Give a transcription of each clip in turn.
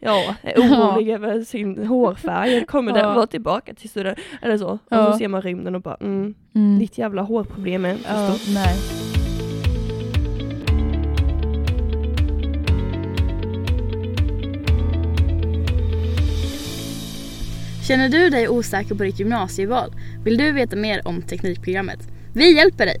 ja, är orolig över sin hårfärg, kommer den Ja. vara tillbaka till studion? Eller så. Och Ja. så ser man rymden och bara mm, Mm. ditt jävla hårproblem är för Ja, stort. nej. Känner du dig osäker på ditt gymnasieval? Vill du veta mer om Teknikprogrammet? Vi hjälper dig!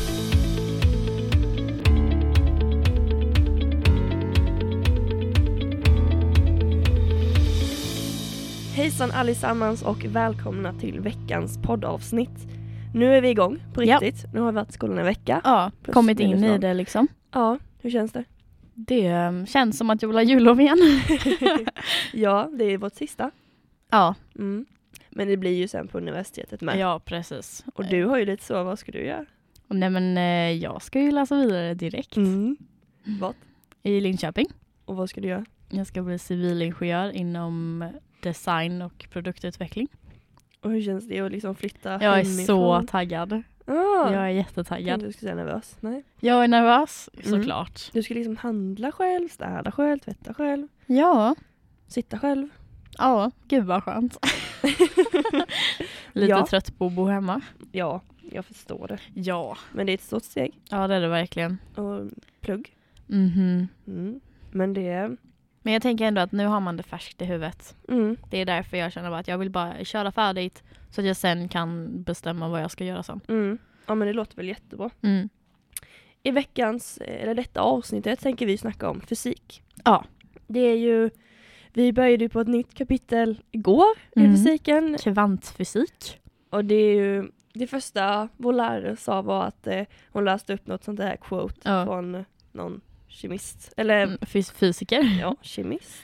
Hejsan allesammans och välkomna till veckans poddavsnitt. Nu är vi igång på Ja. riktigt. Nu har vi varit i skolan en vecka. Ja, Plus kommit in minus i noll. det liksom. Ja, hur känns det? Det ehm, känns som att jag vill ha jullov igen. Ja, det är vårt sista. ja. Mm. Men det blir ju sen på universitetet med. ja, precis. Och du har ju lite så, vad ska du göra? Nej men eh, jag ska ju läsa vidare direkt Mm. Vad? i Linköping. Och vad ska du göra? Jag ska bli civilingenjör inom design och produktutveckling. Och hur känns det att liksom flytta Jag är hemifrån? så taggad. ah, Jag är jag jättetaggad. trodde du skulle säga nervös. Nej. Jag är nervös Mm. såklart. Du ska liksom handla själv, städa själv, tvätta själv, Ja, sitta själv. ja, gud vad skönt. Lite Ja. trött på att bo hemma. Ja, jag förstår det. Ja, Men det är ett stort steg. ja det är det verkligen. Och plugg. Mhm. Mm. Men det är... Men jag tänker ändå att nu har man det färskt i huvudet. Mm. Det är därför jag känner bara att jag vill bara köra färdigt så att jag sen kan bestämma vad jag ska göra sen. Mm. Ja men det låter väl jättebra. Mm. I veckans, eller detta avsnittet tänker vi snacka om fysik. Ja. Det är ju, vi började ju på ett nytt kapitel igår Mm. i fysiken. Kvantfysik. Och det är ju, det första vår lärare sa var att eh, hon läste upp något sånt där quote Ja. från någon kemist. Eller Mm, fys- fysiker. ja, kemist.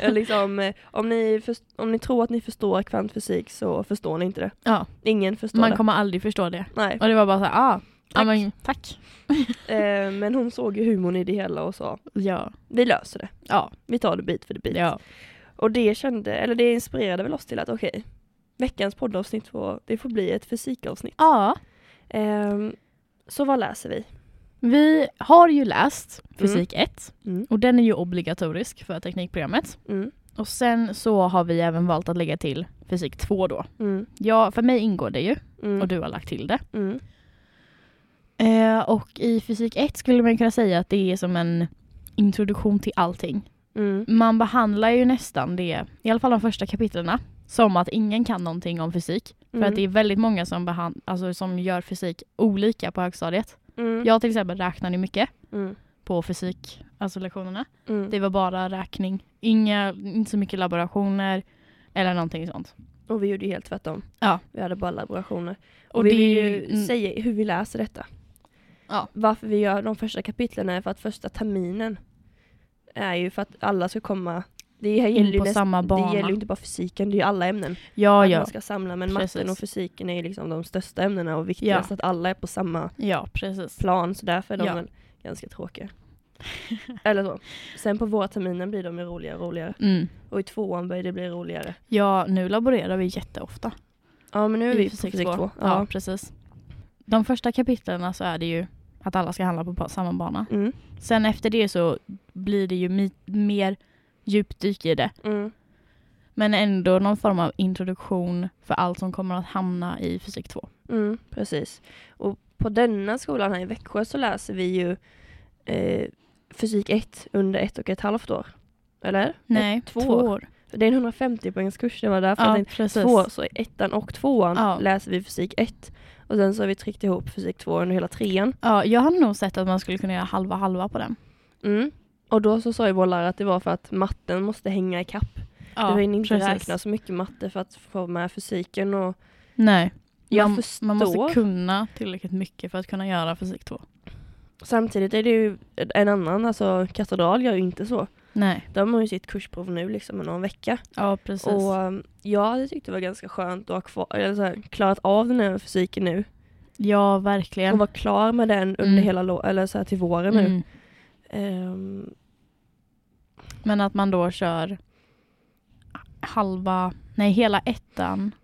Eller liksom, eh, om, ni först, om ni tror att ni förstår kvantfysik så förstår ni inte det. Ja. Ingen förstår Man det. kommer aldrig förstå det. Nej. Och det var bara så här, ah, ja Tack. men tack. Eh, men hon såg ju humorn i det hela och sa Ja, vi löser det. ja, Vi tar det bit för bit. ja. Och det kände, eller det inspirerade väl oss till att okej, veckans poddavsnitt får, det får bli ett fysikavsnitt. Ja, Ehm, så vad läser vi? vi har ju läst fysik 1 Mm. och den är ju obligatorisk för teknikprogrammet. Mm, Och sen så har vi även valt att lägga till fysik 2 då. mm, Ja, för mig ingår det ju mm, och du har lagt till det. mm, Eh, och i fysik 1 skulle man kunna säga att det är som en introduktion till allting. mm, Man behandlar ju nästan det, i alla fall de första kapitlerna, som att ingen kan någonting om fysik. För mm, att det är väldigt många som, behand- alltså, som gör fysik olika på högstadiet. mm, Jag till exempel räknade mycket mm, på fysik, alltså lektionerna. mm. Det var bara räkning, Inga, inte så mycket laborationer eller någonting sånt. Och vi gjorde ju helt tvärtom. Ja. Vi hade bara laborationer. Och, Och vi det vill är ju ju- mm. säga hur vi läser detta. Ja. Varför vi gör de första kapitlen är för att första terminen är ju för att alla ska komma det här In gäller ju på samma bana. Det gäller ju inte bara fysiken, det är ju alla ämnen. Ja, att ja. man ska samla, men Precis. matten och fysiken är ju liksom de största ämnena och viktigast att alla är på samma Ja, precis. plan så därför är de Ja. väl ganska tråkiga. Eller så. Sen på våra terminen blir de ju roligare och roligare. Mm. Och i tvåan börjar det bli roligare. Ja, nu laborerar vi jätteofta. Ja men nu är vi på fysik två. två. Ja. precis. De första kapitlen så är det ju att alla ska handla på ba- samma bana. Mm. Sen efter det så blir det ju mi- mer djupdyk i det. Mm. Men ändå någon form av introduktion för allt som kommer att hamna i fysik 2. Mm, precis. Och på denna skolan här i Växjö så läser vi ju eh, fysik 1 under ett och ett halvt år. Eller? Nej, två år. Det är en 150 poängskurs, det var därför Ja, jag tänkte precis. två, år, så i ettan och tvåan Ja. läser vi fysik 1. Och sen så har vi tryckt ihop fysik 2 under hela trean. Ja, jag hade nog sett att man skulle kunna göra halva halva på den. Mm. Och då så sa ju vår lärare att det var för att matten måste hänga ikapp. Ja, du hinner inte precis. räkna så mycket matte för att få med fysiken och Nej. Jag man, man förstår. måste kunna tillräckligt mycket för att kunna göra fysik 2. Samtidigt är det ju en annan, alltså katedral gör ju inte så. Nej. De har ju sitt kursprov nu liksom om någon vecka. Ja, precis. Och um, jag hade tyckt det var ganska skönt att ha kvar, eller så här, klarat av den här fysiken nu. ja, Och verkligen. vara klar med den under Mm. hela lo- eller så här, till våren nu. Mm. Ehm, Men att man då kör halva, nej hela ettan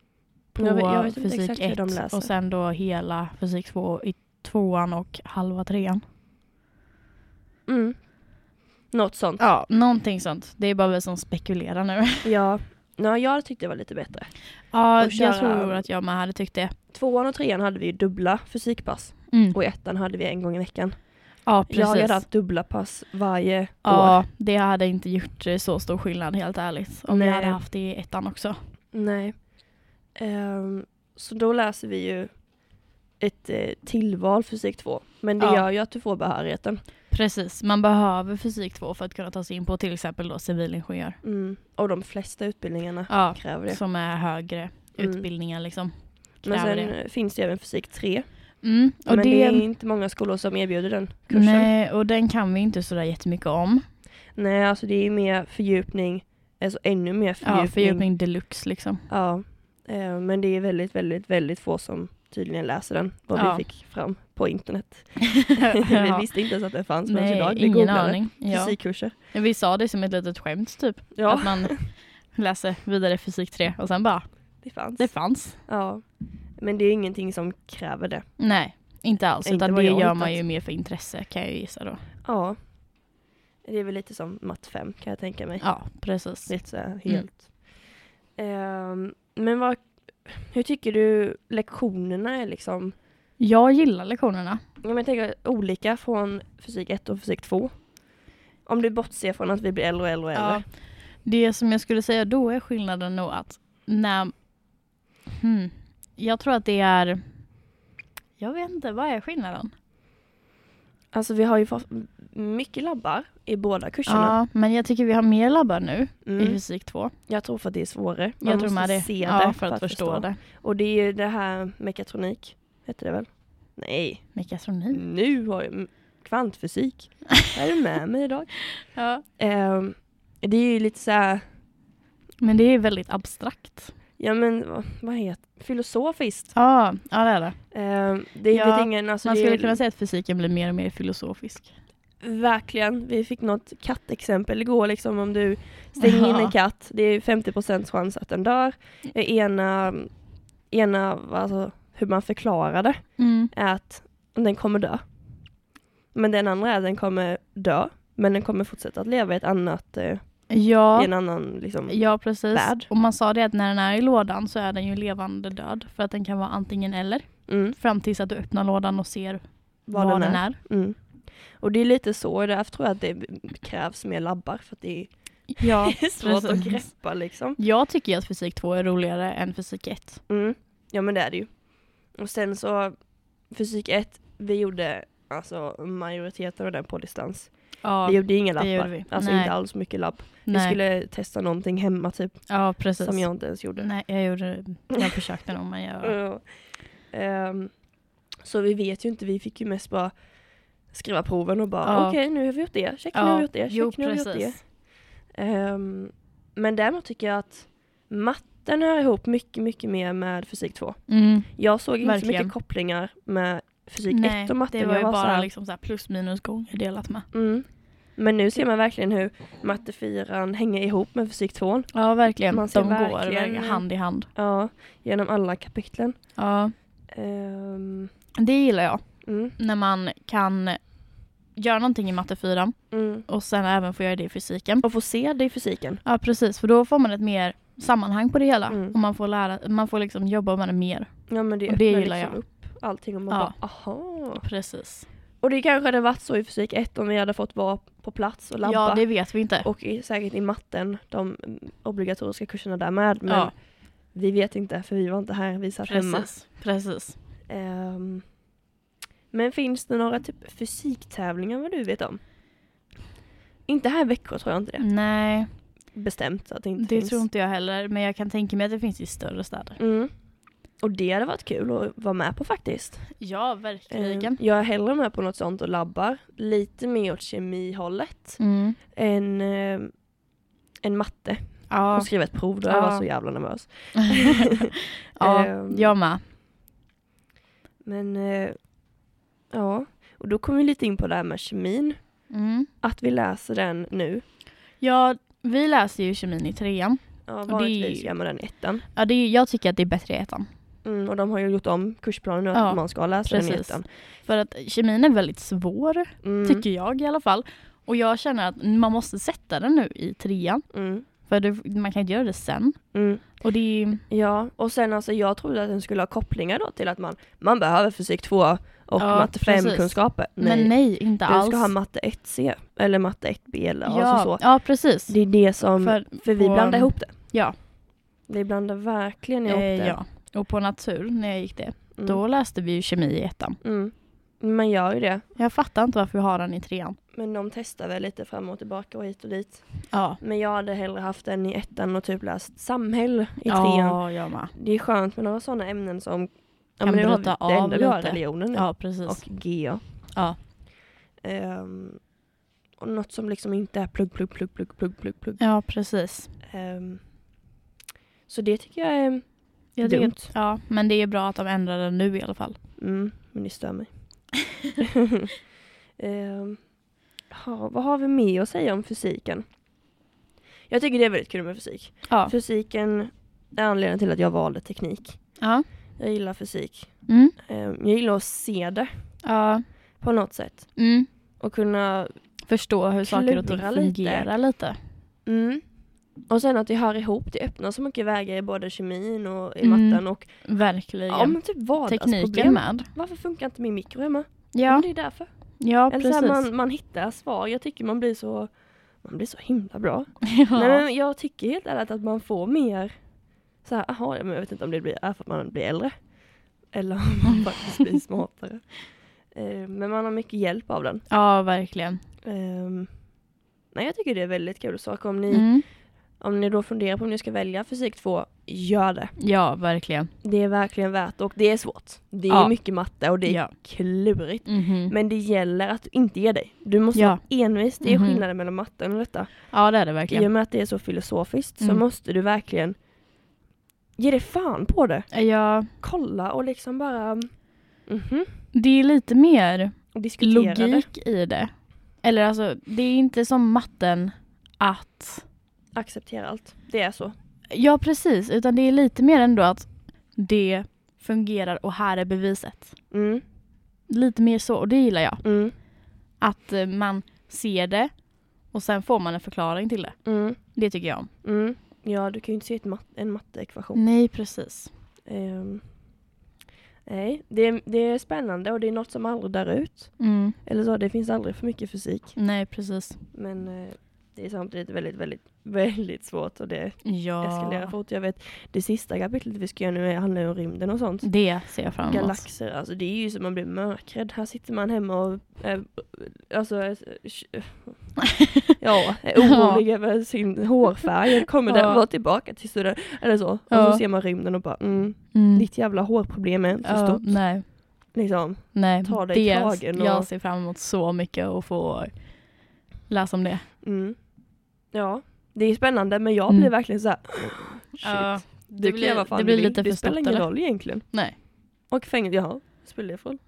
på Jag vet- jag vet inte fysik exakt hur de läser. och sen då hela fysik 2 i tvåan och halva trean. mm. Något sånt. Ja, någonting sånt. Det är bara vi som spekulerar nu. Ja. Ja, jag tyckte det var lite bättre. Ja, Och jag köra- tror att jag med hade tyckt det. Mm. Tvåan och trean hade vi ju dubbla fysikpass och i ettan hade vi en gång i veckan. Ja, Oh Jag hade precis. haft dubbla pass varje år. Ja, det hade inte gjort eh, så stor skillnad helt ärligt. Om jag Nej. hade haft det i ettan också. Nej. Ehm, så då läser vi ju ett eh, tillval fysik 2. Men det Ja. gör ju att du får behörigheten. Precis, man behöver fysik 2 för att kunna ta sig in på till exempel då civilingenjör. Mm. Och de flesta utbildningarna Ja, kräver det. som är högre Mm. utbildningar liksom. Men kräver sen det. eh, finns det ju även fysik 3. Mm, och Men det... det, är inte många skolor som erbjuder den kursen. Nej, nej, och den kan vi inte sådär jättemycket om. alltså det är mer fördjupning. Alltså ännu mer fördjupning. Ja, fördjupning deluxe liksom. Ja. Eh, men det är väldigt, väldigt, väldigt få som tydligen läser den. Vad Ja. vi fick fram på internet. Ja. vi visste inte ens att den fanns förrän nej, idag. Vi ingen googlade. aning. Ja. Fysikkurser. Vi sa det som ett litet skämt typ. Ja, Att man läser vidare fysik 3 och sen bara, det fanns. det fanns. Ja. Men det är ingenting som kräver det. Nej, inte alls. Inte utan vad det jag gör hittat. man ju mer för intresse kan jag ju gissa då. Ja. Det är väl lite som matt 5 kan jag tänka mig. Ja, Mm. precis. Lite så här helt. Ehm, men vad, hur tycker du lektionerna är liksom? Jag gillar lektionerna. Ja, men Jag tänker olika från fysik 1 och fysik 2. Om du bortser från att vi blir äldre och äldre och äldre. Det som jag skulle säga då är skillnaden nog att när... Hmm, jag tror att det är... Jag vet inte, vad är skillnaden? Alltså vi har ju fått mycket labbar i båda kurserna. Ja, men jag tycker vi har mer labbar nu i Mm. fysik 2. Jag tror för att det är svårare. Man jag tror måste med det. se det ja, för att, förstå, det. Och det är ju det här mekatronik, heter det väl? Nej, Mekatronik. nu har jag m- kvantfysik. Vad Mm. är du med mig idag? Ja. Ehm, det är ju lite så här, Men det är väldigt abstrakt. ja men vad- vad heter filosofiskt. Ja, ja det är det. Ehm, det är Ja, vet ingen, alltså Man det skulle är, kunna säga att fysiken blir mer och mer filosofisk. Verkligen, vi fick något kattexempel igår liksom om du stänger in Ja. en katt, det är 50 chans att den dör. Ena, ena alltså, hur man förklarar det Mm. är att den kommer dö. Men den andra är att den kommer dö, men den kommer fortsätta att leva i ett annat, eh, i Ja, en annan liksom. ja, precis. Värld. Och man sa det att när den är i lådan så är den ju levande död. För att den kan vara antingen eller. Mm, Fram tills att du öppnar lådan och ser vad den är. Mm. Och det är lite så, och därför tror jag att det krävs mer labbar för att det Ja, är svårt att precis. greppa liksom. Jag tycker att fysik 2 är roligare än fysik 1. Mm. Ja men det är det ju. Och sen så, fysik 1, vi gjorde alltså majoriteten av den på distans. Ja, vi gjorde inga det gjorde lappar, vi. alltså Nej. inte alls mycket lapp. Vi nej. skulle testa någonting hemma typ, ja precis. som jag Mm, inte ens gjorde. Nej, jag, gjorde, jag försökte nog men jag... Ja. Ehm, så vi vet ju inte, vi fick ju mest bara skriva proven och bara Ja. okej nu har vi gjort det, check nu har vi gjort det, check jo, nu har vi gjort det. precis. Ehm, men däremot tycker jag att matten hör ihop mycket, mycket mer med fysik 2. Mm. Jag såg inte så Verkligen. mycket kopplingar med fysik Nej, 1 och matte. det var ju jag så bara här, liksom så här plus minus gånger delat med. mm. Men nu ser man verkligen hur matte 4 hänger ihop med fysik 2. Ja, verkligen. Man De ser går verkligen- verkligen hand i hand. Ja, genom alla kapitlen. Ja. Ehm, Det gillar jag. mm, När man kan göra någonting i matte 4 mm. och sen även få göra det i fysiken. Och få se det i fysiken. Ja, precis. För då får man ett mer sammanhang på det hela. Mm. Och man får, lära, man får liksom jobba med det mer. Ja men det Och öppnar det gillar liksom jag. upp allting och man Ja. bara aha. Precis. Och det kanske hade varit så i fysik 1 om vi hade fått vara på plats och labba. Ja, det vet vi inte. Och i, säkert i matten, de mm, obligatoriska kurserna där med. Men Ja. vi vet inte för vi var inte här, vi satt hemma. Precis. Precis. Ehm, men finns det några typ fysiktävlingar vad du vet om? Inte här i Växjö tror jag inte det. Nej, Bestämt att det inte Mm. det finns. tror inte jag heller. Men jag kan tänka mig att det finns i större städer. Mm. Och det hade varit kul att vara med på faktiskt. Ja, verkligen. Eh, Jag är hellre med på något sånt och labbar. Lite mer åt kemihållet Mm. än, eh, än matte. Ja. Och skriva ett prov, då Ja. jag var så jävla nervös. ja, Ehm, jag med. Men eh, ja, och då kom vi lite in på det här med kemin. Mm. Att vi läser den nu. Ja, vi läser ju kemin i trean. Ja, det är vanligtvis ju- gör man den i ettan. Ja, det är, jag tycker att det är bättre i ettan. Mm, och de har ju gjort om kursplanen nu att Ja, man ska läsa den i precis. ettan. För att kemin är väldigt svår, Mm, tycker jag i alla fall. Och jag känner att man måste sätta den nu i trean. mm, För det, man kan inte göra det sen. mm. Och det är ju... Ja, och sen alltså jag trodde att den skulle ha kopplingar då till att man, man behöver fysik 2 och Ja, matte 5 precis. kunskaper. Nej, Men nej, inte du alls. ska ha matte 1C eller matte 1B eller alltså ja, så. ja, precis. Det är det som, för, För, vi på- blandar ihop det. ja. Vi blandar verkligen ihop eh, det. ja. Och på natur, när jag gick det, Mm, då läste vi ju kemi i ettan. Mm. Man gör ju det. Jag fattar inte varför vi har den i trean. Men de testar väl lite fram och tillbaka och hit och dit. Ja. Men jag hade hellre haft den i ettan och typ läst samhälle i trean. Ja, jag med. Det är skönt med några sådana ämnen som ja, Kan men nu har vi, bryta det av enda vi har är lite. religionen nu. Ja, precis. Mm. och GA. Ja. Ehm, och något som liksom inte är plugg, plugg, plugg, plugg, plugg, plugg, plugg. Ja, precis. Ehm, så det tycker jag är... Jag Dumt. tycker- Ja, men det är bra att de ändrar den nu i alla fall. Mm, men det stör mig. Ehm, ja, vad har vi mer att säga om fysiken? Jag tycker det är väldigt kul med fysik. Ja. Fysiken är anledningen till att jag valde teknik. Ja. Jag gillar fysik. Mm. Ehm, jag gillar att se det Ja. på något sätt. Mm. Och kunna Förstå hur saker och ting Klura lite. fungerar lite. Mm. Och sen att det hör ihop, det öppnar så mycket vägar i både kemin och i Mm. matten och ja, Verkligen. men typ Tekniken vardagsproblem. med. Mm. Varför funkar inte min mikro hemma? Men Ja, Det är därför. ja Eller så precis. här, man, man hittar svar. Jag tycker man blir så man blir så himla bra. ja. Nej, men jag tycker helt ärligt att man får mer så här, aha, ja, men jag vet inte om det blir, är för att man blir äldre. Eller om man faktiskt blir smartare. Eh, Men man har mycket hjälp av den. ja, verkligen. Ehm, Nej, jag tycker det är väldigt kul sak. Om ni, Mm. om ni då funderar på om ni ska välja fysik 2, gör det. Ja, verkligen. Det är verkligen värt och det är svårt. Det är Ja. mycket matte och det är Ja. klurigt. Mhm. Men det gäller att inte ge dig. Du måste Ja. vara envis. Det är Mhm. skillnaden mellan matten och detta. Ja, det är det I och verkligen. med att det är så filosofiskt så Mm. måste du verkligen ge dig fan på det. Ja, Kolla och liksom bara mhm, det är lite mer och diskutera det. logik i det. Eller alltså, det är inte som matten att... Acceptera allt. Det är så. Ja, precis. Utan det är lite mer ändå att det fungerar och här är beviset. Mm, Lite mer så, och det gillar jag. mm, Att eh, man ser det och sen får man en förklaring till det. mm, Det tycker jag om. mm. Ja, du kan ju inte se ett mat- en matteekvation. Nej, precis. Ehm, nej, det är, det är spännande och det är något som aldrig dör ut. Mm. Eller så, det finns aldrig för mycket fysik. Nej, precis. Men eh, det är samtidigt väldigt, väldigt, väldigt svårt och det eskalerar Ja, fort. Jag vet, det sista kapitlet vi ska göra nu är- handlar ju om rymden och sånt. det ser jag fram emot. Galaxer, alltså det är ju som man blir mörkrädd. Här sitter man hemma och eh, alltså, eh, sh- ja, är orolig över sin hårfärg. Kommer den Ja. vara tillbaka till studenten? Eller så. Och Ja. så ser man rymden och bara mm, Mm. ditt jävla hårproblem är inte så Ja, stort. nej, Liksom. nej. Ta dig i det kragen och- Jag ser fram emot så mycket att få läsa om det. Mm. Ja, det är spännande men jag Mm. blir verkligen så här. Shit. Ja, Du det kan blir- göra vad fan det du blir vill. lite det för spelar stort, ingen eller? roll egentligen. Nej. Och fängelse, jaha, spelar det för roll?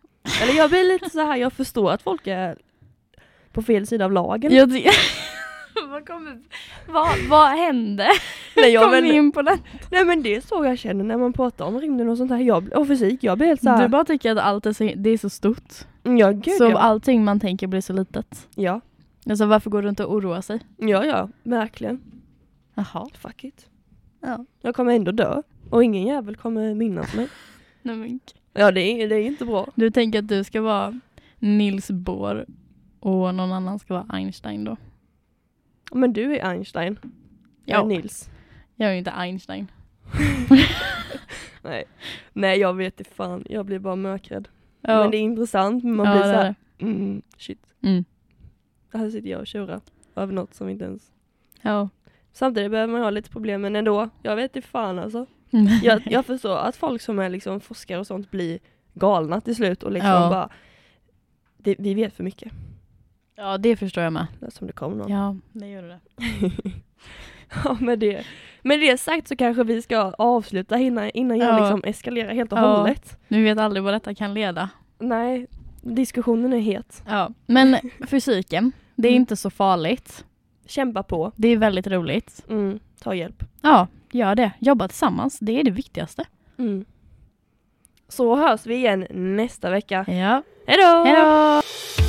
Eller jag blir lite så här, jag förstår att folk är på fel sida av lagen. Jag ty- vad, kommer... vad, vad hände? nej, Jag jag, kom vi men, in på den? nej men det är så jag känner när man pratar om rymden och sånt här. Jag, blir- och fysik, jag blir helt så Du här. bara tycker att allt är så, det är så stort. ja gud så ja. allting man tänker blir så litet. ja. Alltså varför går du inte och oroa sig? Ja ja, verkligen. Jaha. Fuck it. Ja. Jag kommer ändå dö. Och ingen jävel kommer minnas mig. Nej, men... g- Ja det är, det är inte bra. Du tänker att du ska vara Nils Bohr och någon annan ska vara Einstein då? Men du är Einstein. Jag är Nils. Jag är ju inte Einstein. Nej. Nej jag vet inte fan, jag blir bara mörkrädd. Ja. Men det är intressant, men man Ja, blir det så är här, det. Mm, shit. Mm. Här sitter jag och tjurar över något som inte ens... Ja. Samtidigt behöver man ha lite problem men ändå. Jag vet inte fan alltså. Jag, jag förstår att folk som är liksom forskare och sånt blir galna till slut och liksom Ja. bara det, Vi vet för mycket. Ja, det förstår jag med. Det är Som det kom någon. Ja. Ja, det gör det. med, det, med det sagt så kanske vi ska avsluta innan, innan jag Ja. liksom eskalerar helt och Ja. hållet. Nu vet aldrig vad detta kan leda. Nej, diskussionen är het. Ja. Men fysiken, det är Mm. inte så farligt. Kämpa på. Det är väldigt roligt. Mm, ta hjälp. Ja, gör det. Jobba tillsammans. Det är det viktigaste. Mm. Så hörs vi igen nästa vecka. Ja. Hej då! Hej då!